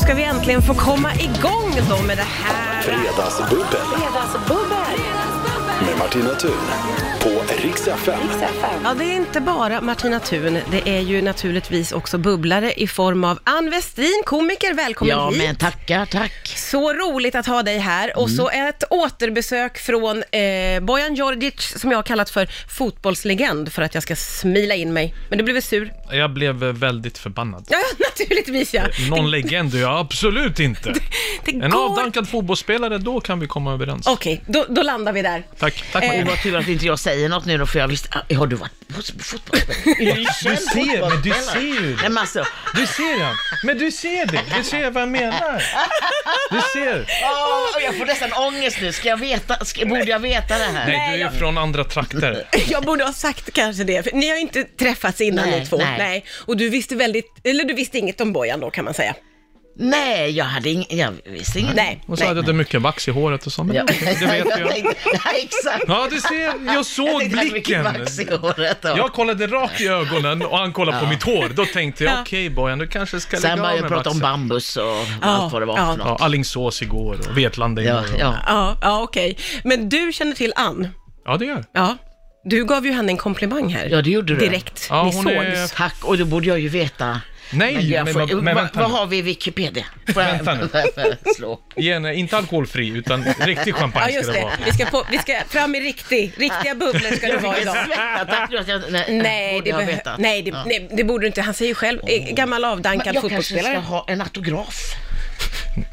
ska vi äntligen få komma igång då med det här. Fredagsbubbel med Martina Thun på Rix FM. Ja, det är inte bara Martina Thun, det är ju naturligtvis också bubblare i form av Ann Westrin, komiker. Välkommen Ja, hit. men tackar, tack. Så roligt att ha dig här. Och så Mm. ett återbesök från eh, Bojan Djordjic, som jag har kallat för fotbollslegend, för att jag ska smila in mig. Men du blev väl sur? Jag blev eh, väldigt förbannad. Ja, naturligtvis ja. Någon legend? Ja, absolut inte. Det En går... avdankad fotbollsspelare, då kan vi komma överens. Okej, då, då landar vi där. Tack, tack Eh, Martina. Det var tur att inte jag säger något nu då, för jag visste... Ah, Har du varit på fotbollsspelare? Är du Du känd ser, men du fotbollsspelare? ser ju. Nej men alltså, Du ser ja. Men du ser det. Du ser vad jag menar. Du ser. åh, jag får nästan ångest nu. Ska jag veta, ska, borde jag veta det här? Nej, du är från andra trakter. Jag borde ha sagt kanske det, för ni har ju inte träffats innan Nej, ni två. nej. Och du visste väldigt, eller du visste inget om Bojan då kan man säga. Nej, jag hade ingen, jag visste inget. Nej. Och så hade du mycket vax i håret och så. Men Ja. det vet jag. tänkte, nej, exakt. Ja, du ser. Jag Jag såg tänkte, hade mycket blicken. vax i håret då. Jag kollade rakt i ögonen och han kollade på mitt hår. Då tänkte jag, okej Bojan, du kanske ska lägga Sen av började jag med prata om vaxet. bambus och allt vad det var ja. för något. Ja, Alingsås igår och Vetlanda Ja, igår. ja. Ja, ja okej. Men du känner till Ann? ja det gör jag. Ja. Du gav ju henne en komplimang här. Ja, det gjorde du. Direkt, Ja, ni hon sågs. är- Tack, och då borde jag ju veta. Nej, men, jag får, men, men vad, vänta vad nu. har vi i Wikipedia? Får jag, Vänta nu. slå? Igen, inte alkoholfri, utan riktig Ja, champagne just ska det vara. det. Vi ska, på, vi ska fram i riktig, riktiga bubblor ska det vara idag. Tack, jag, jag, nej, Nej det, borde jag behö- veta. nej, det, nej, det borde du inte. Han säger ju själv, eh, gammal Oh. Men avdankad jag kanske fotbollsspelare. ska ha en autograf.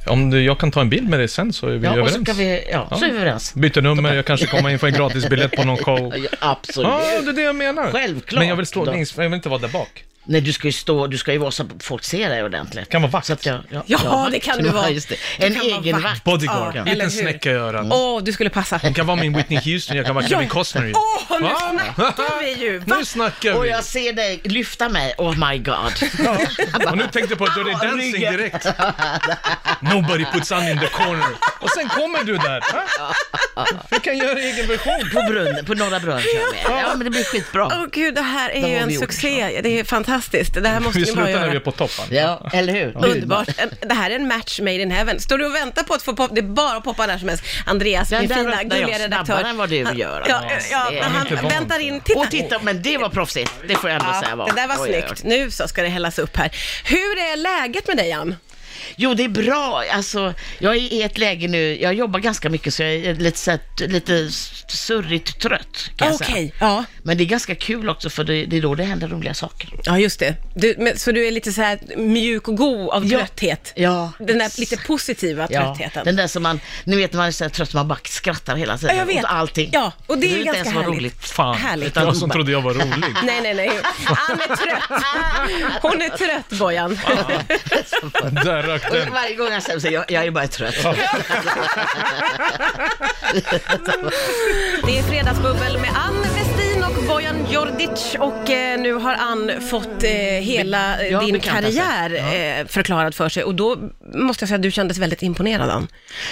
Om du, jag kan ta en bild med dig sen så är vi Ja, och så, överens. kan vi, ja, så är vi överens. Byter nummer, jag kanske kommer in för en gratisbiljett på någon show. Ja, Ja, absolut. det är det jag menar. Självklart. Men jag vill, stå, Då. längst- jag vill inte vara där bak. Nej, du ska ju stå, du ska ju vara så att folk ser dig ordentligt. Kan vara vakt. Så att jag, ja, Ja, ja, det kan du vara. Just det. Du En kan vara egen vakt. vakt. Bodyguard, Ja, en eller liten hur? snäcka i örat. Åh, du skulle passa. Hon kan vara min Whitney Houston, jag kan vara Kevin Costner ju. Åh, nu Va? snackar vi ju! Va? Nu snackar Och vi! jag ser dig lyfta mig, oh my god. Och nu tänkte jag på Dirty Dancing ryggen. direkt. Nobody puts on in the corner. Och sen kommer du där. Va? Vi kan göra egen version. På brunnen, på Norra Brunn kör vi. Ja, men det blir skitbra. Åh gud, det här är Där ju har en vi gjort, succé. Det är fantastiskt. Det här måste Vi ni bara slutar när vi är göra. på toppen. Ja, eller hur? Underbart. En- Det här är en match made in heaven. Står du och väntar på att få poppa? Det är bara att poppa när som helst. Andreas, Den min där fina, öppnar jag gulliga snabbare redaktör. än vad du Han- gör, Ja, Andreas. ja, Det är men han han inte van väntar vid. in. Titta. Och titta, men det var proffsigt. Det får jag ändå säga Ja, var. det där var Oj, oj, oj. snyggt. Nu så ska det hällas upp här. Hur är läget med dig, Ann? Jo, det är bra. Alltså, jag är i ett läge nu, jag jobbar ganska mycket så jag är lite, så här, t- lite surrigt trött kan jag säga. Okej, ja. Men det är ganska kul också för det, det är då det händer roliga saker. Ja, just det. Du, men, så du är lite så här mjuk och god av Ja. trötthet? Ja. Den där lite positiva tröttheten? den där som man, ni vet när man är så här trött man bara skrattar hela Ja, tiden jag vet. åt allting. Ja, och det är behöver ju inte ganska ens vara härligt. roligt. Fan, Härligt. jag som trodde jag var rolig. Nej, nej, nej. Ann är trött. Hon är trött, Bojan. Där rök Och den. varje gång jag säger så, jag, jag är bara trött. Det är Fredagsbubbel med Ann Westin och Bojan Djordjic och eh, nu har Ann fått eh, hela eh, Ja, din bekanta sig. karriär eh, förklarad för sig och då måste jag säga att du kändes väldigt imponerad Ann.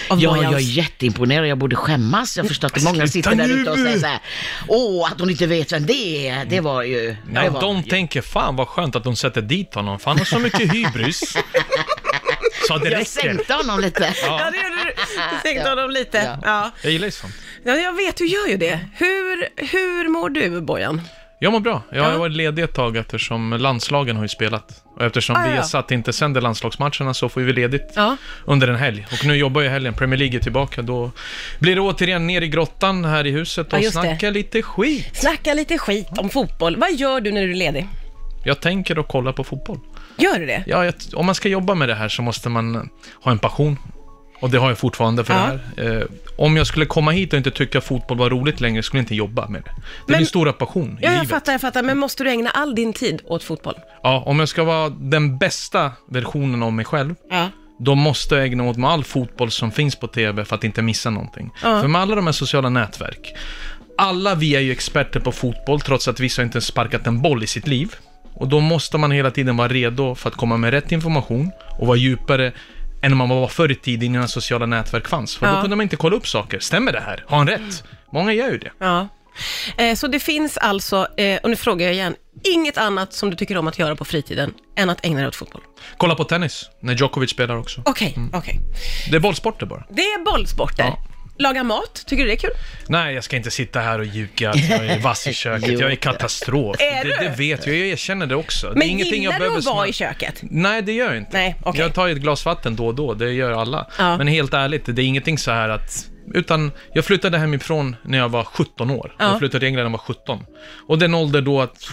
Av Ja, Bojans. jag är jätteimponerad. Jag borde skämmas. Jag förstår att många sitter där ute och säger så här, åh, att hon inte vet vem det är. Det var ju... Nej, det var, de tänker fan vad skönt att de sätter dit honom, för han har så mycket hybris. Så det jag räcker. sänkte honom lite. Ja, det gjorde du. Du sänkte honom lite. Ja. Ja. Jag gillar ju sånt. jag vet, du gör ju det. Hur, hur mår du Bojan? Jag mår bra. Jag har Ja. varit ledig ett tag eftersom landslagen har ju spelat. Och eftersom Ah, ja. Viasat inte sänder landslagsmatcherna så får vi ledigt Ja. under en helg. Och nu jobbar ju helgen, Premier League är tillbaka. Då blir det återigen ner i grottan här i huset Ja, och just det. snacka lite skit. Snacka lite skit om fotboll. Vad gör du när du är ledig? Jag tänker och kolla på fotboll. Gör du det? Ja, jag, om man ska jobba med det här så måste man eh, ha en passion. Och det har jag fortfarande för Ja. det här. Eh, om jag skulle komma hit och inte tycka fotboll var roligt längre skulle jag inte jobba med det. Det är min stora passion i Ja, jag livet. fattar, jag fattar. Men måste du ägna all din tid åt fotboll? Ja, om jag ska vara den bästa versionen av mig själv, Ja. då måste jag ägna åt mig all fotboll som finns på TV för att inte missa någonting. Ja. För med alla de här sociala nätverk, alla vi är ju experter på fotboll trots att vissa inte ens sparkat en boll i sitt liv. Och då måste man hela tiden vara redo för att komma med rätt information och vara djupare än man var förr i tiden innan sociala nätverk fanns. För Ja. då kunde man inte kolla upp saker. Stämmer det här? Har han rätt? Många gör ju det. Ja. Eh, Så det finns alltså, eh, och nu frågar jag igen, inget annat som du tycker om att göra på fritiden än att ägna dig åt fotboll? Kolla på tennis, när Djokovic spelar också. Okej, okej. Det är bollsporter bara. Det är bollsporter. Mm. Ja. Laga mat, tycker du det är kul? Nej, jag ska inte sitta här och ljuga att jag är vass i köket. Jag är katastrof. Är det, du? det vet jag, jag erkänner det också. det är Men ingenting gillar jag du behöver att vara smör- i köket? Nej, det gör jag inte. Nej, okej. Jag tar ju ett glas vatten då och då, det gör alla. Ja. Men helt ärligt, det är ingenting så här att... Utan jag flyttade hemifrån när jag var 17 år. Ja. Jag flyttade till England när jag var 17. Och den ålder då att...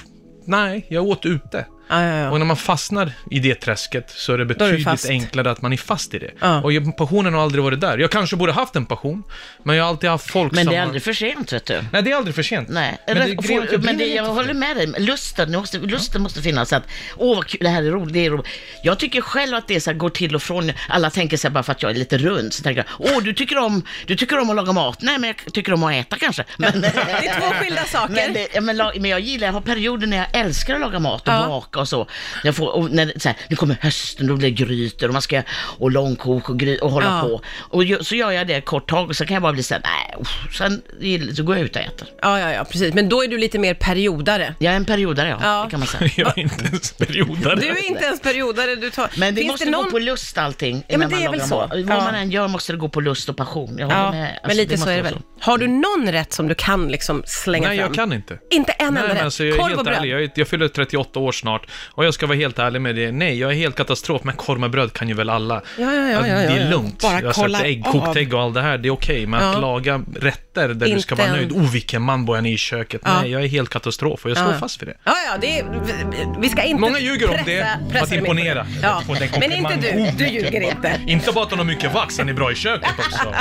Nej, jag åt ute. Ja, ja, Och ja. när man fastnar i det träsket så är det är du betydligt fast. enklare att man är fast i det. Ja. Och jag- passionen har aldrig varit där. Jag kanske borde haft en passion, men jag har alltid haft folk Men som... det är har- aldrig för sent, vet du. Nej, det är aldrig för sent. Nej, Men det, är grejen att det men, men det, blir jag inte för håller med dig. Lusten, det måste, lusten måste finnas. så Att, Åh, vad kul, det här är roligt, det är roligt. Jag tycker själv att det så här, går till och från. Alla tänker så här, bara för att jag är lite rund, så tänker jag, åh, du tycker om, du tycker om att laga mat. Nej, men jag tycker om att äta kanske. Men, Det är två skilda saker. Men, det, ja, men, la- men jag gillar, jag har perioder när jag älskar att laga mat och Ja. baka och så. Jag får, och när, det- så här, nu kommer hösten, då blir det grytor och man ska, och långkok och, gry, och hålla Ja. på. Och ju- så gör jag det ett kort tag och så kan jag bara bli så här, nej, uff." sen gill- så går jag ut och äter. ja, ja, ja, precis. Men då är du lite mer periodare. Jag är en periodare, ja. Ja. Det kan man säga. sent. Jag är inte ens periodare. Du är inte ens periodare. Du tar... Men det Finns måste det någon... gå på lust allting. men innan det man är väl lagar så. mat. Vad Ja. man än gör måste det gå på lust och passion. Jag håller Ja, med. Alltså, men det lite så måste är det vara väl. Har du någon rätt som du kan liksom slänga Nej, fram? jag kan inte. Inte en Nej, enda men rätt? alltså, jag är Korv och helt bröd? ärlig. Jag, är- jag fyller 38 år snart och jag ska vara helt ärlig med det. Nej, jag är helt katastrof, men korv med bröd kan ju väl alla. Ja, ja, ja, Alltså, ja, det ja, är ja. lugnt. Bara jag har sett kolla ägg, kokt av. ägg och allt det här, det är okej. men Ja. att laga rätter där du Inte ska vara nöjd. än. Oh, vilken man Bojan är i köket. Ja. Nej, jag är helt katastrof och jag står Ja. fast vid det. Ja, ja, det är, vi- vi ska inte Många ljuger om pressa, det, för pressa att dig mer på imponera. det. Att få den Ja. Men inte du, komplimangen. du ljuger inte. Inte bara att han har mycket vax, han är bra i köket också.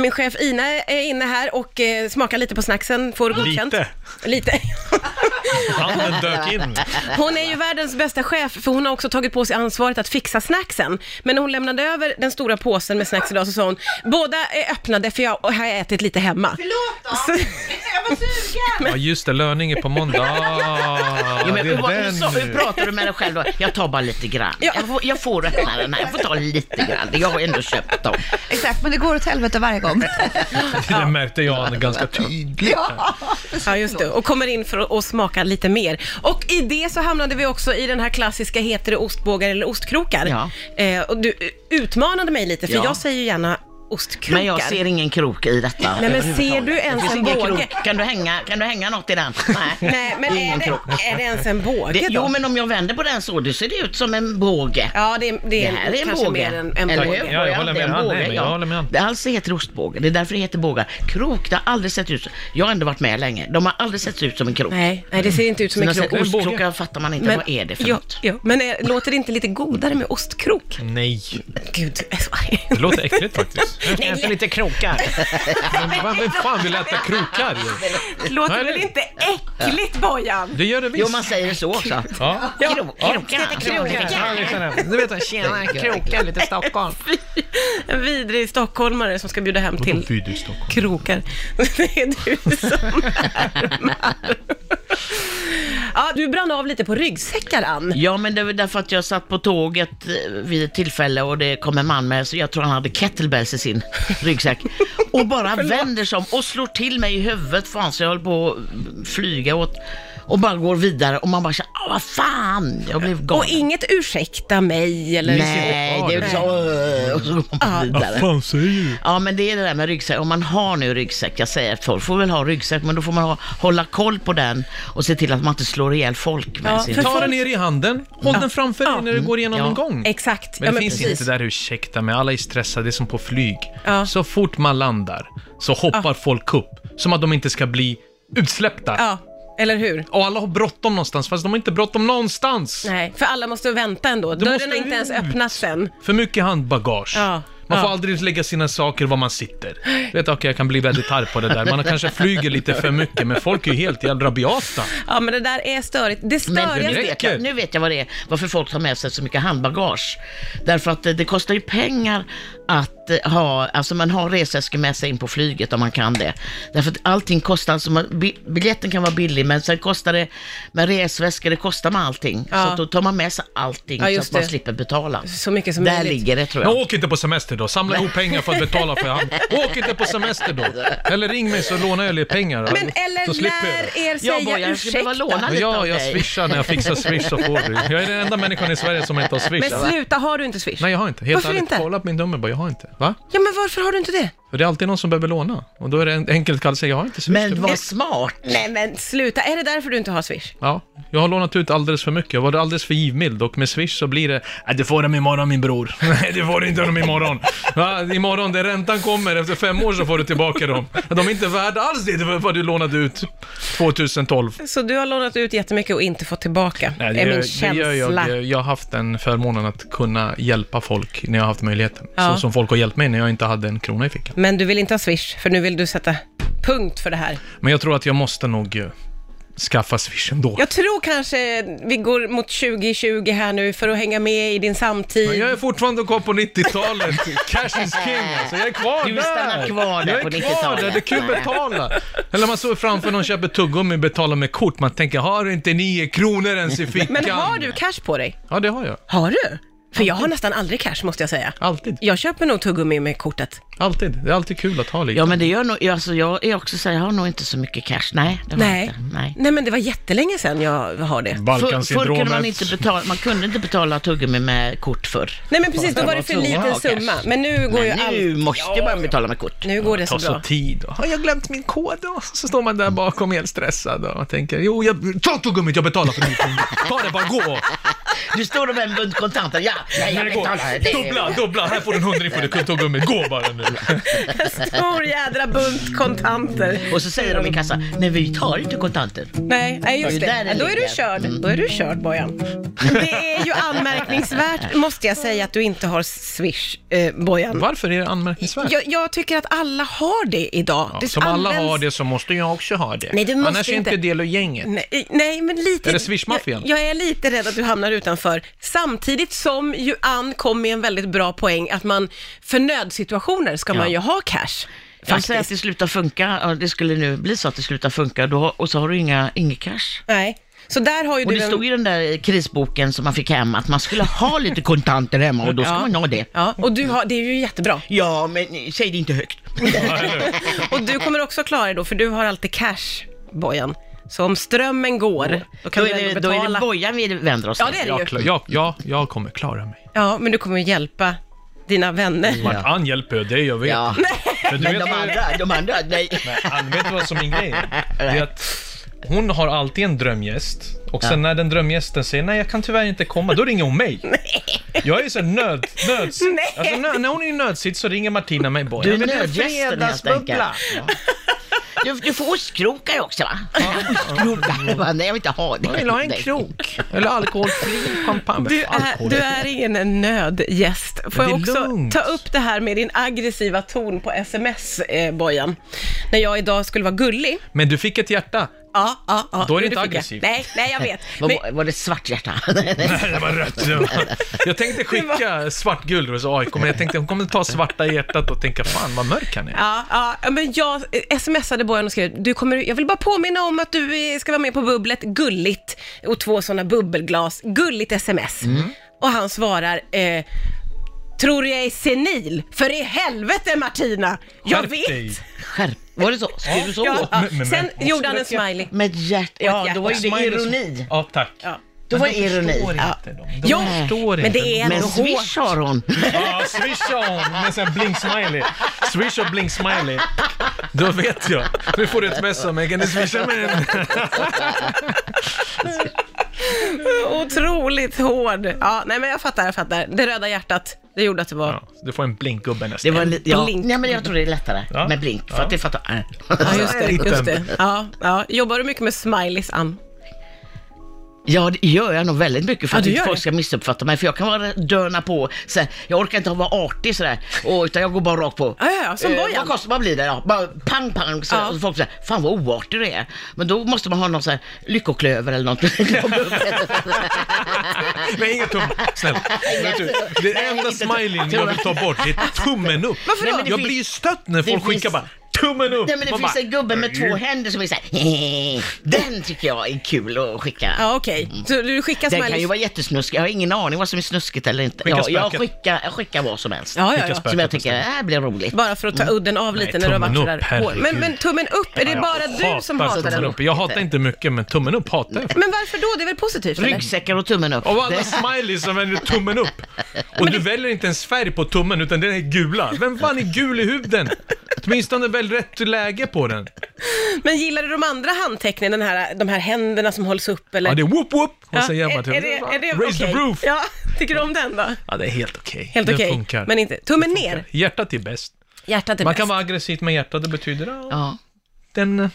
Min chef Ina är inne här och eh, smakar lite på snacksen, får godkänt. Lite. Lite. Handen dök in. Hon är ju världens bästa chef, för hon har också tagit på sig ansvaret att fixa snacksen. Men när hon lämnade över den stora påsen med snacks idag så sa hon, båda är öppnade för jag har ätit lite hemma. Förlåt då! Så- Jag var sugen! Ja, just det, löning är på måndag. Ah, Jo, men det hur, är hur, den sa- hur nu. pratar du med dig själv då? Jag tar bara lite grann. Ja. Jag, får, jag får öppna den här, jag får ta lite grann. Jag har ändå köpt dem. Exakt, men det går åt helvete varje gång. Det märkte jag ganska tydligt. ja, Ja, just det. Och kommer in för att smaka lite mer. Och i det så hamnade vi också i den här klassiska, heter det ostbågar eller ostkrokar? Ja. Eh, och du utmanade mig lite, för Ja. jag säger ju gärna ostkrokar. Men jag ser ingen krok i detta. Nej, men överhuvudtaget. ser du Det ens finns en ingen båge? krok. Kan du, hänga, kan du hänga något i den? Nej. Nej, men är Ingen det, krok. är det ens en båge Det, då? jo, men om jag vänder på den så, då ser det ut som en båge. Ja, det, är- det Det är, här är en kanske båge. mer en, en Eller båge. hur? Ja, jag håller med Det är en han. båge, Nej, men jag håller med han. Det alltså heter ostbåge. Det är därför det heter bågar. Krok, det har aldrig sett ut så. Jag har ändå varit med länge. De har aldrig sett ut som en krok. Nej, nej, det ser inte ut som en Men krok. sen En båge. ostkrokar fattar man inte. vad är det för ja, något? Mm. ja, men eh, låter det inte lite godare med ostkrok? Nej, Gud, jag är så arg. det låter äckligt faktiskt. Jag ska Nej, äta lite krokar. Men vad- vem fan vill äta krokar? Låter Nej, väl det- inte äckligt, Bojan? Det gör det visst. Jo, man säger så också. Ja. Krok, krokar. Du vet, jag, tjena, krokar lite Stockholm. En vidrig stockholmare som ska bjuda hem till vidrig stockholmare? krokar. Det är du som härmar. Ja, du brann av lite på ryggsäckar, Ann. Ja, men det var därför att jag satt på tåget eh, vid ett tillfälle och det kom en man med, så jag tror han hade kettlebells i sin ryggsäck. Och bara vänder sig om och slår till mig i huvudet, fan så jag höll på att flyga åt. Och bara går vidare och man bara känner, "Ah, vad fan, jag blev Och galen. inget ursäkta mig eller... Nej, det är så, "Åh", och så går Ah. man vidare. fan säger du? Ja, men det är det där med ryggsäck. Om man har nu ryggsäck, jag säger att folk får väl ha ryggsäck, men då får man ha, hålla koll på den och se till att man inte slår ihjäl folk med Ja, sin för Ta den ner i handen, håll den framför dig när du går igenom Ja. en gång. Exakt. Men Ja, det men finns precis. inte det där ursäkta mig, alla är stressade, det är som på flyg. Ja. Så fort man landar så hoppar folk upp, som att de inte ska bli utsläppta. Ja, eller hur? Och alla har bråttom någonstans, fast de har inte bråttom någonstans. Nej, för alla måste vänta ändå. måste Dörren har inte ens ut. öppnats än. För mycket handbagage. Ja. Man får Ja. aldrig lägga sina saker var man sitter. Du vet, okej, jag kan bli väldigt arg på det där. Man kanske flyger lite för mycket, men folk är ju helt jävla rabiata. Ja, men det där är störigt. Det Men nu störigaste... det vet, räcker. jag, nu eh, vet jag vad det är, varför folk tar med sig så mycket handbagage. Därför att det, det kostar ju pengar att eh, ha, alltså man har reseväskor med sig in på flyget om man kan det. Därför att allting kostar, alltså man, bi- biljetten kan vara billig men sen kostar det, med resväskor det kostar med allting. Ja. Så att då tar man med sig allting Ja, så just att man det. slipper betala. Så mycket som Där möjligt. ligger det tror Men jag. åk inte på semester då, samla ihop pengar för att betala för hand. Åk inte på semester då. Eller ring mig så lånar jag lite pengar. Men så eller slipper jag det. lär er Ja, säga Bojan, jag skulle behöva ursäkta. låna lite av Ja, jag dig. swishar när jag fixar swish så får du. Jag är den enda människan i Sverige som inte har swish. Men sluta, har du inte Swish? Nej, jag har inte. Helt Varför ärligt, inte? kolla på min nummer bara, jag har inte. Va? Ja, men varför har du inte det? För det är alltid någon som behöver låna. Och då är det en- enkelt kallt att säga, jag har inte swish. Men vad smart! Nej, men sluta. Är det därför du inte har Swish? Ja, jag har lånat ut alldeles för mycket. Jag var alldeles för givmild och med Swish så blir det... Nej, du får dem imorgon min bror. Nej, du får inte dem imorgon. Va? Imorgon, där räntan kommer, efter fem år så får du tillbaka dem. De är inte värda alls det vad du lånade ut 2012. Så du har lånat ut jättemycket och inte fått tillbaka, Nej, är min det känsla. gör jag. Jag har haft den förmånen att kunna hjälpa folk när jag har haft möjligheten. Ja. Så som folk har hjälpt mig när jag inte hade en krona i fickan. Men du vill inte ha Swish, för nu vill du sätta punkt för det här. Men jag tror att jag måste nog eh, skaffa Swish ändå. Jag tror kanske vi går mot 2020 här nu för att hänga med i din Men samtid. jag är fortfarande kvar på 90-talet. Cash is king, alltså. Jag är kvar Du där. stannar kvar där jag är på kvar 90-talet. där. Det är kul att betala. Eller man står framför någon köper tuggummi och betalar med kort. Man tänker, har du inte nio kronor ens i fickan? Men har du cash på dig? Ja, det har jag. Har du? För jag har nästan aldrig cash, måste jag säga. Alltid. Jag köper nog tuggummi med kortet. Alltid. Det är alltid kul att ha lite. Ja men det gör nog, alltså jag är också såhär, jag har nog inte så mycket cash. Nej, det har jag Nej. inte. Nej. Nej, men det var jättelänge sedan jag har det. Förr, förr Balkansyndromet. kunde man inte betala, man kunde inte betala tuggummi med kort förr. Nej, men precis, då Man var det för tvungen liten att ha summa. cash. Men nu går ju Men allt... nu måste man betala med kort. Nu går det så Ta så bra. tid. Har jag glömt min kod? Och så står man där bakom helt stressad och tänker, jo, jag, ta tuggummit, jag betalar för nio kronor. Ta det, bara gå. Du står där med en bunt kontanter, ja, nej, jag Det går. betalar. Det är- Dubbla, dubbla, här får du en hundring för det tuggummit. Gå bara nu. Stor jädra bunt kontanter. Och så säger de i kassan, nej vi tar inte kontanter. Nej, nej just Det det. är där det Då är du ligger. Mm. körd. Då är du körd, Bojan. Det är ju anmärkningsvärt, måste jag säga, att du inte har Swish, eh, Bojan. Varför är det anmärkningsvärt? Jag, jag tycker att alla har det idag. Ja, Det som alla används- har det så måste jag också ha det. Nej, du måste Annars är inte inte. del av gänget. Nej, nej, men lite... Är det swishmaffian? Jag, jag är lite rädd att du hamnar utanför. Samtidigt som ju Ann kom med en väldigt bra poäng, att man för nödsituationer ska man ju ha cash. Jag säger att Faktiskt. det slutar funka, ja, det skulle nu bli så att det slutar funka då, och så har du inga, inget cash. Nej. Så där har ju Och du det en- stod i den där eh, krisboken som man fick hem att man skulle ha lite kontanter hemma och då ska Ja. man ha det. Ja, och du har, det är ju jättebra. Ja, men eh, säg det inte högt. Och du kommer också klara dig då, för du har alltid cash, Bojan. Så om strömmen går, då kan Då du är, det, ändå då är betala. det bojan vi vänder oss ja, till. det är Jag, det ju. klar, jag, jag, jag kommer klara mig. Ja, men du kommer ju hjälpa dina vänner. Vart Ann hjälper, det gör vi. Ja. Men du Men vet, de andra, de andra, nej. Ann, vet du vad som är grejen? Det är att hon har alltid en drömgäst och sen när den drömgästen säger nej jag kan tyvärr inte komma, då ringer hon mig. Jag är så här nöd, nöds... Nej. Alltså, när, när hon är i nödsits så ringer Martina mig bara. Du "Jag är vill ha nödgästen helt enkelt. fredagsbubbla." Ja. Du, du får ostkrokar också va? Ostkrokar, va? nej jag vill inte ha det. Jag vill ha en Nej. krok. Eller alkoholfri champagne. Du är, Alkohol. du är ingen nödgäst. Får Men jag det är också lugnt. ta upp det här med din aggressiva ton på sms, eh, Bojan? När jag idag skulle vara gullig. Men du fick ett hjärta. Ja, ja, ja. Då Jo, är det inte fick jag. aggressivt. Nej, nej, jag vet. Men, Var, var det svart hjärta? Nej, det var rött. det var- Jag tänkte skicka svartguld hos AIK, men jag tänkte hon kommer ta svarta i hjärtat och tänka fan vad mörk han är. ja, ja, men jag eh, smsade Bojan och skrev, du kommer, jag vill bara påminna om att du eh, ska vara med på bubblet, gulligt, och två sådana bubbelglas, gulligt sms. Mm. Och han svarar, eh, tror jag är senil? För i helvete Martina, jag Skärp vet! dig. Skärp. Var det så? Skrev du så? Ja, ja. Men- men- Sen men- gjorde han en smiley. Med hjärta, ja då var ju det Smiley som- ironi. Ja, tack. Ja. Då var det de ironi. förstår Ja. inte de. De Ja, förstår men inte. det är Men ändå hårt. swish har hon. Ja, swisha hon med sån här blink-smiley. Swish och blink-smiley. Då vet jag. Nu får du ett mess av mig. Kan du swisha mig en? Otroligt hård. Ja, nej men jag fattar, jag fattar. Det röda hjärtat, det gjorde att det var... Ja, du får en blinkgubbe nästa Det var li- ja. Blink. Nej men jag tror det är lättare Ja. med blink, för Ja. att det fattar Ja, just det. Liten. Just det. Ja, ja. Jobbar du mycket med smileys, Ann? Ja, det gör jag nog väldigt mycket för Ja, att du inte gör folk det. ska missuppfatta mig. För jag kan vara döna på. Så här, jag orkar inte vara artig sådär. Och, utan jag går bara rakt på. Ja, ja, ja, Alltså, som Bojan. Eh, Vad kostar, vad blir det då? Bara pang, pang. Så, Ja. och folk säger, fan vad oartig du är. Men då måste man ha någon sån här lyckoklöver eller något. Nej, inga tummar. Snälla. Inga tummar. Det enda smileyn jag vill ta bort det är tummen upp. Varför då? Nej, men det Jag finns- blir ju stött när det folk finns- skickar bara tummen upp. Nej men det Man finns bara, "Mm." en gubbe med två händer som är såhär, den tycker jag är kul att skicka. Ja, okej. Mm. Så du skickar Den kan ju smileys? vara jättesnuskig, jag har ingen aning vad som är snuskigt eller inte. Skicka Ja, jag, spöket. skickar, jag skickar vad som helst. Ja, ja, Skicka ja. spö- Mm. Som jag tycker, "Äh, det här blir roligt. Bara för att ta udden av lite Nej, när du har varit tummen upp, sådär hård. Men, herregud. men tummen upp, är det jag bara du som hatar tummen den? upp. Jag hatar inte mycket, men tummen upp hatar jag. Men varför då? Det är väl positivt? Eller? Ryggsäckar och tummen upp. Av alla Det- smileys så väljer du tummen upp. Och du väljer inte ens färg på tummen, utan den är gula. Vem fan är gul i huden? Åtminstone väl rätt läge på den. Men gillar du de andra handtecknen, den här, de här händerna som hålls upp eller? Ja, det är whoop whoop. Och Ja, sen gör man till... är, är det, är det Raise the okej? roof. Ja, tycker du om den då? Ja, det är helt okej. Helt det okej, funkar. men inte. Tummen ner, Hjärtat är bäst. hjärtat är Man bäst. kan vara aggressiv med hjärtat, det betyder att Ja. den eh,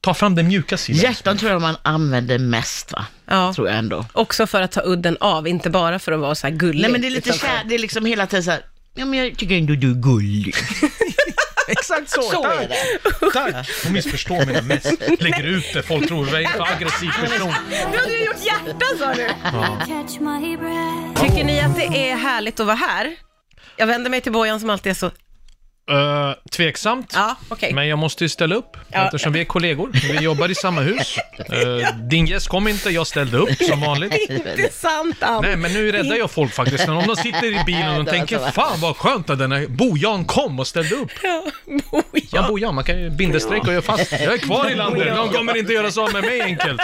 tar fram den mjuka sidan. Hjärtan tror jag man använder mest va? Ja. Tror jag ändå. Också för att ta udden av, inte bara för att vara så här gullig. Nej men det är lite utan för- kär, det är liksom hela tiden såhär, ja men jag tycker ändå du är gullig. Exakt så! Så tack. är det. Tack! Hon missförstår mina mest. Lägger ut det, folk tror jag är en för aggressiv person. Nu har du gjort hjärta sa du! catch my breath. Tycker ni att det är härligt att vara här? Jag vänder mig till Bojan som alltid är så... Uh, tveksamt. Ja, okej. Men jag måste ju ställa upp, Ja. eftersom vi är kollegor. Vi jobbar i samma hus. Eh, din gäst kom inte, jag ställde upp som vanligt. Det är sant Ann. Nej, men nu räddar jag folk faktiskt. Om de sitter i bilen och Det var tänker så va? “Fan vad skönt att denna Bojan kom och ställde upp”. Ja, Bojan. Ja, Bojan, man kan ju bindestreck och göra fast. Jag är kvar i landet, de kommer inte göra så av med mig enkelt.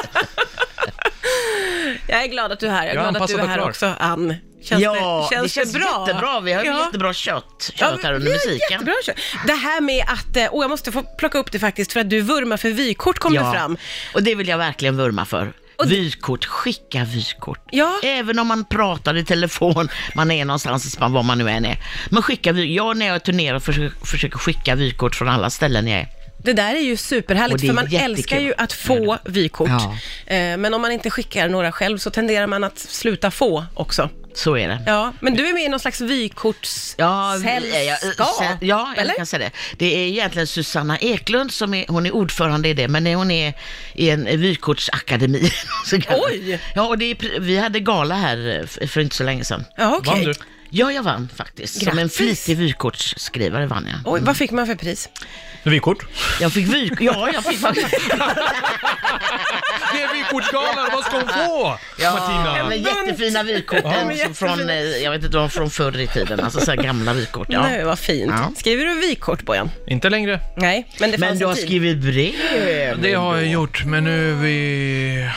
Jag är glad att du är här. Jag är Jag är glad att du är anpassad här och klar. också Ann. Känns ja, det, känns det, bra? jättebra. Vi har Ja. jättebra kött, kött Ja, här men under vi har musiken. Jättebra kört. Det här med att, eh, åh jag måste få plocka upp det faktiskt för att du vurmar för vykort kom det fram. Och det vill jag verkligen vurma för. Och det- Vykort, skicka vykort. Ja. Även om man pratar i telefon, man är någonstans i Spanien, var man nu än är. Men skicka vykort. Jag när jag turnerar försöker, försöker skicka vykort från alla ställen jag är. Det där är ju Och superhärligt det är för man jättekul. Mm. älskar ju att få vykort. Ja. Eh, Men om man inte skickar några själv så tenderar man att sluta få också. Så är det. Ja, men du är med i någon slags Ja, vi- ja, vykortssällskap? sen- ja jag eller? kan säga det. Det är egentligen Susanna Eklund som är, hon är ordförande i det, men hon är i en vykortsakademi. så kallat. Oj! Ja, och det är, pr- vi hade gala här eh, för- för inte så länge sedan. Ja, Vann okej. du? Ja, jag vann faktiskt. Som en Grattis. flitig vykortsskrivare vann jag. Oj, vad fick man för pris? Vykort? Jag fick vyk... Ja, jag fick faktiskt... Det är vykortsgalan, vad ska hon få? Ja, Martina? men jättefina vykort. Ja, men Alltså, från, jättefina. eh, jag vet inte, de var från förr i tiden. Alltså så här gamla vykort. Ja. Nej, vad fint. Ja. Skriver du vykort, Bojan? Inte längre. Nej, men det Men fanns du har en tid. skrivit brev. Det har jag gjort, men nu är vi...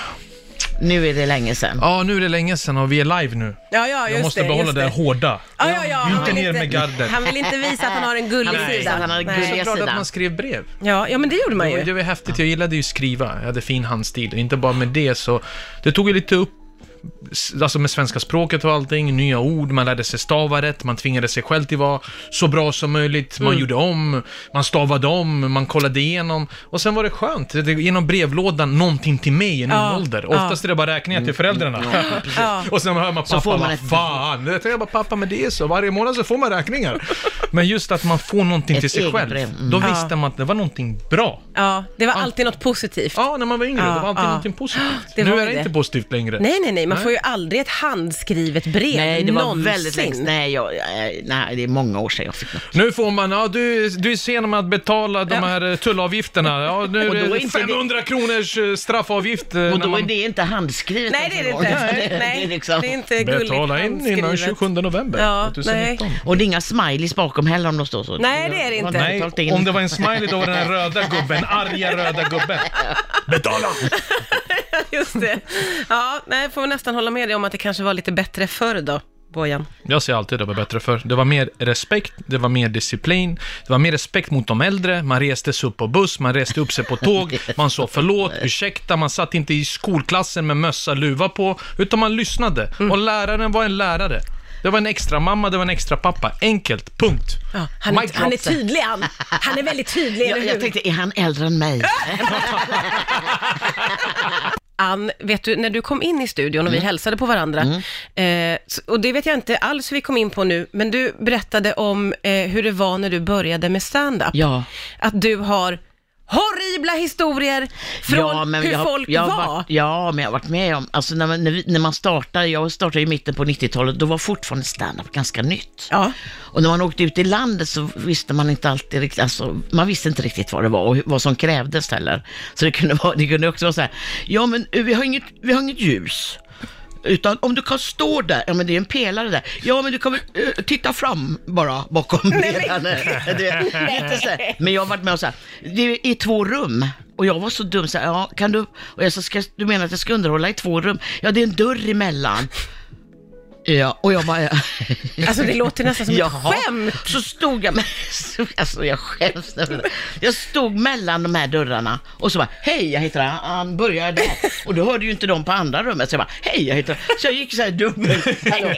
Nu är det länge sedan. Ja, nu är det länge sedan och vi är live nu. Ja, ja, just Jag måste det, behålla just det här hårda. Ja, ja, ja. Inte han vill ner med garden. Han vill inte visa att han har en gullig Han vill sida. visa att han har en Nej. gullig- Det är klart att sidan. man skrev brev. Ja, ja, men det gjorde man Och ju. Det var häftigt, jag gillade ju skriva. Jag hade fin handstil. Och Inte bara med det så... Det tog ju lite upp... Alltså med svenska språket och allting, nya ord, man lärde sig stava rätt, man tvingade sig själv till att vara så bra som möjligt, Mm. man gjorde om, man stavade om, man kollade igenom. Och sen var det skönt, det, genom brevlådan, någonting till mig i en ung ålder. Oftast är det bara räkningar till föräldrarna. Ja. och sen hör man pappa, får man vad ett- fan, jag tänker bara pappa men det är så, varje månad så får man räkningar. Men just att man får någonting Ett till sig eget själv, brev. Mm. då visste man att det var någonting bra. Ja, det var alltid något positivt. Ja, när man var yngre, Ja, det var alltid ja. någonting positivt. Det nu var är det, det. inte positivt längre. Nej, nej, nej, man får ju aldrig ett handskrivet brev Nej, det var någonsin. väldigt länge sedan. Nej, jag, eh, nej, det är många år sedan jag fick något. Nu får man, ja du, du är sen med att betala de Ja. här eh, tullavgifterna. Ja, nu är Och då är det inte det- 500 kronors eh, straffavgift. eh, Och när då är man det inte handskrivet. Nej, det är det ens en gång. inte. Det är Nej, liksom- det är inte gulligt Betala in innan handskrivet. 27 november Ja, 2019. Nej. Och det är inga smileys bakom heller om de står så. Nej, det är det Har inte. du betalat in? om det var en smiley då var det den röda gubben, arga röda gubben. Betala! Just det. Ja, nej, får vi nästan hålla med dig om att det kanske var lite bättre förr då, Bojan. Jag ser alltid det var bättre för. Det var mer respekt, det var mer disciplin, det var mer respekt mot de äldre, man reste sig upp på buss, man reste upp sig på tåg, man sa förlåt, ursäkta, man satt inte i skolklassen med mössa, luva på, utan man lyssnade. Mm. Och läraren var en lärare. Det var en extra mamma, det var en extra pappa. Enkelt, punkt. Ja, han, är, Mic han är drop. tydlig, han. Han är väldigt tydlig, jag, Ah! eller hur? jag tänkte, är han äldre än mig? Ann, vet du, när du kom in i studion och Mm. vi hälsade på varandra, eh, s- och det vet jag inte alls hur vi kom in på nu, men du berättade om eh, hur det var när du började med stand-up. Ja. Att du har horribla historier från hur jag- folk jag har var. Varit, ja, men jag har varit med om, alltså när man, när, vi, när man startade, jag startade i mitten på 90-talet, då var fortfarande stand-up ganska nytt. Ja. Och när man åkte ut i landet så visste man inte alltid riktigt, alltså, man visste inte riktigt vad det var och hur- vad som krävdes heller. Så det kunde, vara, det kunde också vara så här, ja men eh, vi har inget, vi har inget ljus. Utan om du kan stå där, ja men det är en pelare där, ja men du kan väl eh, titta fram bara bakom pelaren. Du vet, lite så här. Men jag har varit med och så här, det är i två rum. Och jag var så dum så här, ja kan du, och jag sa, ska, du menar att jag ska underhålla i två rum? Ja det är en dörr emellan. Ja, och jag bara, ja. Alltså det låter nästan som ett skämt. Så stod jag, med, alltså jag skäms nästan. Jag stod mellan de här dörrarna och så bara, hej jag heter Ann, börjar där. Och då hörde ju inte de på andra rummet, så jag bara, hej jag heter Så jag gick så här dubbel. Hallå.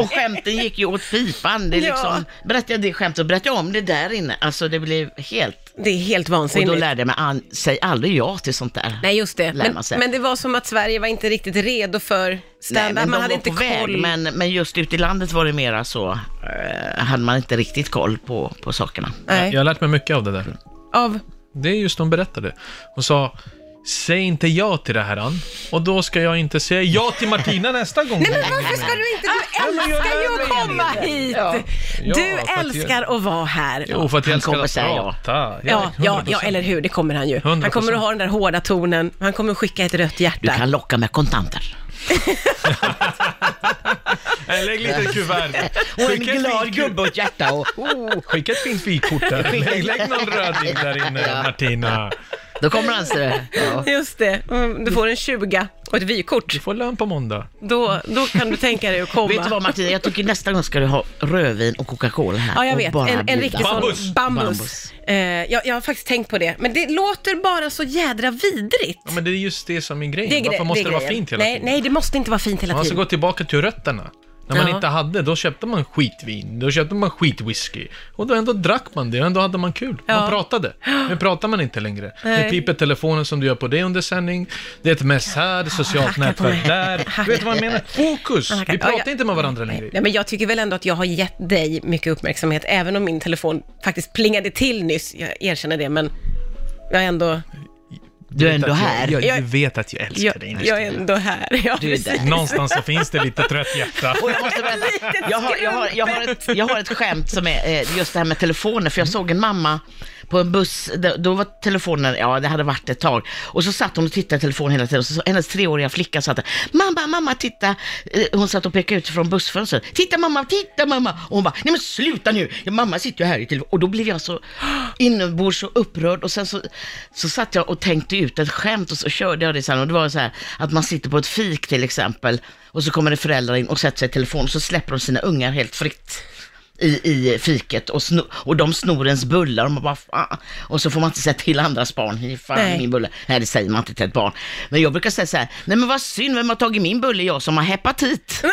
Och skämten gick ju åt pipan. Det är Ja. liksom, berättade jag det skämtet, berättade jag om det där inne. Alltså det blev helt, Det är helt och vansinnigt. då lärde jag mig, Ann, säg aldrig ja till sånt där. Nej, just det. Lär Men, man sig. men det var som att Sverige var inte riktigt redo för Nej, stand-up. men Man de hade var inte på koll. väg, men, men just ute i landet var det mera så, eh, hade man inte riktigt koll på, på sakerna. Nej. Jag har lärt mig mycket av det där. Av... Det är just de berättade. Hon sa Säg inte ja till det här Ann, och då ska jag inte säga ja till Martina nästa gång. Nej, men varför ska du inte... Du men Ah, jag älskar ju lär att mig. komma hit! Ja, Du för att jag- älskar att vara här. Jo, för att jag Han älskar kommer att säga ja. prata. Ja, ja, 100%. ja, eller hur, det kommer han ju. Han 100%. kommer att ha den där hårda tonen, han kommer att skicka ett rött Du hjärta. kan locka med kontanter. Nej, Lägg lite i ett kuvert. Och en Skicka ett glad fint- gubbe och ett hjärta och oh, Skicka ett fint fikort där. Lägg, lägg någon röding där inne, Martina. Då kommer han se. Ja. Just det, Mm, du får en 20 och ett vykort. Du får lön på måndag. Då, då kan du tänka dig att komma. Vet du vad Martina, jag tycker nästa gång ska du ha rödvin och Coca-Cola här. Ja, jag och vet. bara En, en bjuda. riktig Bambus. sån bambus. Bambus. Eh, jag, jag har faktiskt tänkt på det, men det låter bara så jädra vidrigt. Ja, men det är just det som är grejen. Det är gre- Varför måste det, vara grejen. fint hela nej, tiden? Nej, det måste inte vara fint hela Man ska tiden. gå tillbaka till rötterna. När man Ja. inte hade, då köpte man skitvin, då köpte man skitwhisky. Och då ändå drack man det, och ändå hade man kul. Ja. Man pratade. Nu pratar man inte längre. Nej. Nu piper telefonen som du gör på det under sändning. Det är ett mess här, socialt hacka Ah, på nätverk mig. där. Du vet vad jag menar? Fokus! Hacka- Ah, Vi Ja, pratar jag- inte med varandra längre. Nej, men jag tycker väl ändå att jag har gett dig mycket uppmärksamhet, även om min telefon faktiskt plingade till nyss. Jag erkänner det, men jag är ändå, Du är ändå här. Jag, Jag- jag, du vet att jag älskar jag, dig jag är innerst inne. ändå här. Ja, Du är där. precis. Någonstans så finns det lite trött hjärta. Och jag, måste berätta, jag, har, jag, har, jag, har ett, jag har ett skämt som är eh, just det här med telefoner, för jag såg en mamma på en buss, då- då var telefonen, ja det hade varit ett tag, och så satt hon och tittade i telefonen hela tiden, och så, så hennes treåriga flicka satt där, mamma, mamma, titta, Eh, hon satt och pekade ut från bussfönstret, titta mamma, titta mamma, och hon bara, nej men sluta nu, Ja, mamma sitter ju här i telefonen, och då blev jag så inombords så upprörd, och sen så, så satt jag och tänkte ut ett skämt, och så körde jag det sen, och det var så här, att man sitter på ett fik till exempel, och så kommer det föräldrar in och sätter sig i telefon och så släpper de sina ungar helt fritt i, i fiket och, sno, och de snor ens bullar och man bara fan. Och så får man inte säga till andras barn, "Ge fan Nej. min bulle. Nej det säger man inte till ett barn. Men jag brukar säga så här, nej men vad synd, vem har tagit min bulle? Jag som har hepatit.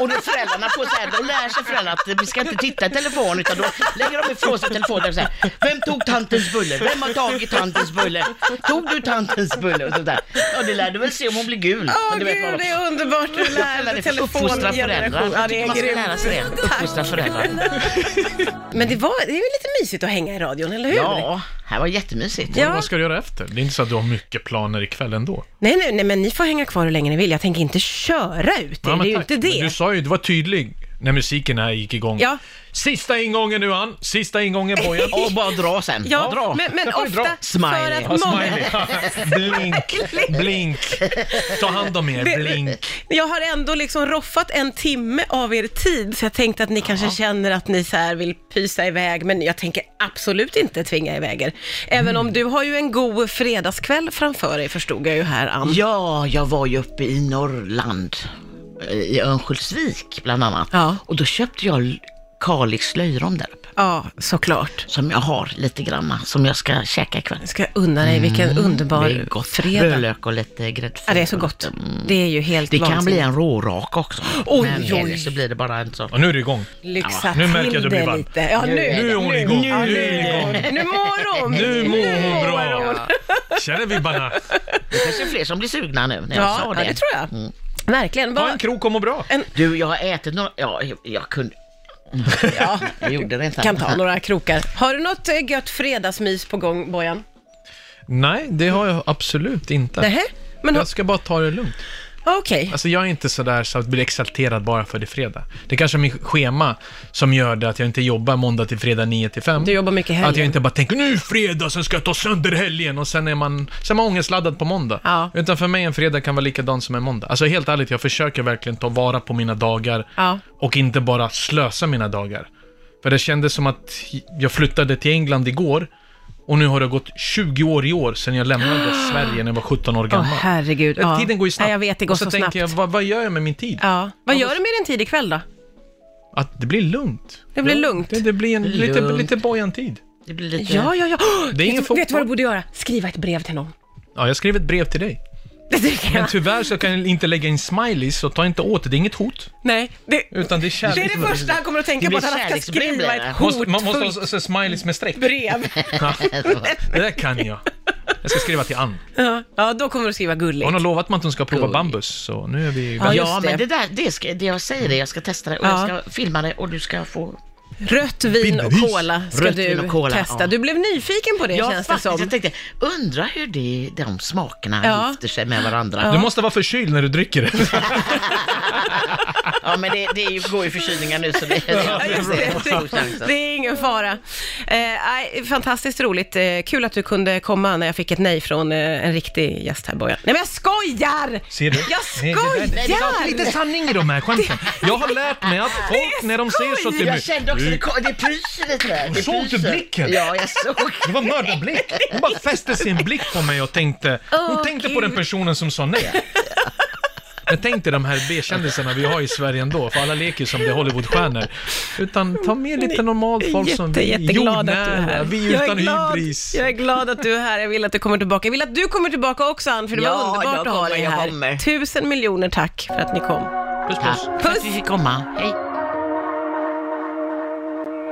Och då föräldrarna får så här, då lär sig föräldrarna att vi ska inte titta i telefon utan då lägger de ifrån sig telefonen och så här, vem tog tantens bulle? Vem har tagit tantens bulle? Tog du tantens bulle? Och sånt där. Ja det lär du väl se om hon blir gul. Åh Men du vet vad gud, de- det är underbart du kallar lärde det för uppfostra föräldrar. telefongeneration. Ja, Jag det tycker är man ska lära grymt. sig det. Uppfostra föräldrar. Men det, var, det är ju lite mysigt att hänga i radion, eller hur? Ja, det här var jättemysigt. Ja. Vad ska du göra efter? Det är inte så att du har mycket planer ikväll ändå. Nej, nej, nej, men ni får hänga kvar hur länge ni vill. Jag tänker inte köra ut er, Ja, det men är ju tack. inte det. Men Du sa ju, du var tydlig när musiken här gick igång. Ja. Sista ingången nu Ann, sista ingången Bojan. Och bara dra sen. Ja, dra. men, men Jag får ju ofta dra. för Smiley. att Ja, många... smiley. blink, blink. Ta hand om er, blink. Jag har ändå liksom roffat en timme av er tid, så jag tänkte att ni kanske känner att ni så här vill pysa iväg, men jag tänker absolut inte tvinga iväg er. Även om du har ju en god fredagskväll framför dig, förstod jag ju här, Ann. Ja, jag var ju uppe i Norrland, eh, i Örnsköldsvik bland annat. Ja. Och då köpte jag l- Kalix löjrom där uppe, Ja, såklart. som jag har lite granna, som jag ska käka ikväll. Jag ska unna dig, vilken Det är underbar gott. fredag. Rödlök och lite gräddfil. Mm. Ja, det är så gott. Det är ju helt Det kan bli vansinnigt. en rårak också. Oj, Men oj. eller så blir det bara en sån. Och nu är det igång. Lyxa nu märker jag till att du blir det varm. lite. Ja, nu, Nu är hon igång. Nu är hon igång. Nu mår hon! Nu mår hon bra. Känner vibbarna. Det kanske är fler som blir sugna nu när jag Ja, sa ja, det. det tror jag. Verkligen. Ta en Vad, krok och må bra. Du, jag har ätit några... Ja, jag, jag kunde... ja, Jag gjorde det inte. kan ta några krokar. Har du något eh, gött fredagsmys på gång, Bojan? Nej, det har jag absolut inte. Nähä? Men har- Jag ska bara ta det lugnt. okej. Alltså jag är inte sådär så att bli exalterad bara för det är fredag. Det kanske är min schema som gör det att jag inte jobbar måndag till fredag 9 till 5. Du jobbar mycket helgen. Att jag inte bara tänker nu är fredag, sen ska jag ta sönder helgen och sen är man, sen är man ångestladdad på måndag. Ja. Utan för mig en fredag kan vara likadan som en måndag. Alltså helt ärligt, jag försöker verkligen ta vara på mina dagar Ja. och inte bara slösa mina dagar. För det kändes som att jag flyttade till England igår och nu har det gått 20 år i år sedan jag lämnade Sverige när jag var 17 år Åh gammal. herregud. Det- Tiden går ju snabbt. Nej, jag vet, det går och så, så, tänker snabbt. jag, vad, vad gör jag med min tid? Ja. Vad gör du med din tid ikväll då? Att det blir lugnt. Det blir lugnt. Det, det blir en lite, Lugnt. lite bojan-tid. Det blir lite... Ja, ja, ja. Oh, Det är ingen vet, du- vet du vad fotboll. du borde göra? Skriva ett brev till någon. Ja, jag skrev ett brev till dig. Det tycker Men jag. tyvärr så kan jag inte lägga in smileys, så ta inte åt det. Det är inget hot, Nej, det, utan det är det kärlek. är det första han kommer att tänka Det på, blir att han ska kärleksbrev skriva blir det. ett Måste, man måste ha hotfullt så- så smileys med streck. brev. Ja, det där kan jag. Jag ska skriva till Ann. Ja, ja, då kommer du skriva gulligt. Hon har lovat mig att hon ska prova bambus, så nu är vi... Ja, Ja, just det. men det där, det, ska, det jag säger det, jag ska testa det och jag ska filma det och du ska få... Rött vin och Bindbevis. cola ska Rött vin du och cola, testa. ja. Du blev nyfiken på det ja, känns det faktiskt, som. jag tänkte, undra hur det, de smakerna Ja. gifter sig med varandra. Du Ja, måste vara förkyld när du dricker det. men det, det är ju, går ju förkylningar nu så det, det, Ja, just är stor chans det. att- det är ingen fara. Eh, nej, fantastiskt roligt. Eh, kul att du kunde komma när jag fick ett nej från eh, en riktig gäst här, Bojan. Nej, men jag skojar! Ser du? Jag Nej, det där- skojar! det är lite sanning i de här skämten. Jag har lärt mig att folk när de ser så till mig... Jag kände också, det, kom- det pyser lite där. Det Såg du pyser. blicken? Ja, jag såg. Det var mördarblick. Hon bara fäste sin blick på mig och tänkte... Hon Åh, tänkte på Gud. den personen som sa nej. Jag tänkte de här B-kändisarna vi har i Sverige ändå, för alla leker ju som det är Hollywoodstjärnor. Utan ta med lite normalt folk som Jätte, vi, jätteglad att du är här. jordnära, vi jag, är utan glad, hybris. jag är glad att du är här. Jag vill att du kommer tillbaka. Jag vill att du kommer tillbaka också, Ann, för det var Ja, underbart jag att ha kommer, dig jag här. kommer. Tusen miljoner tack för att ni kom. Puss, puss. Tack för att vi fick komma. Hej.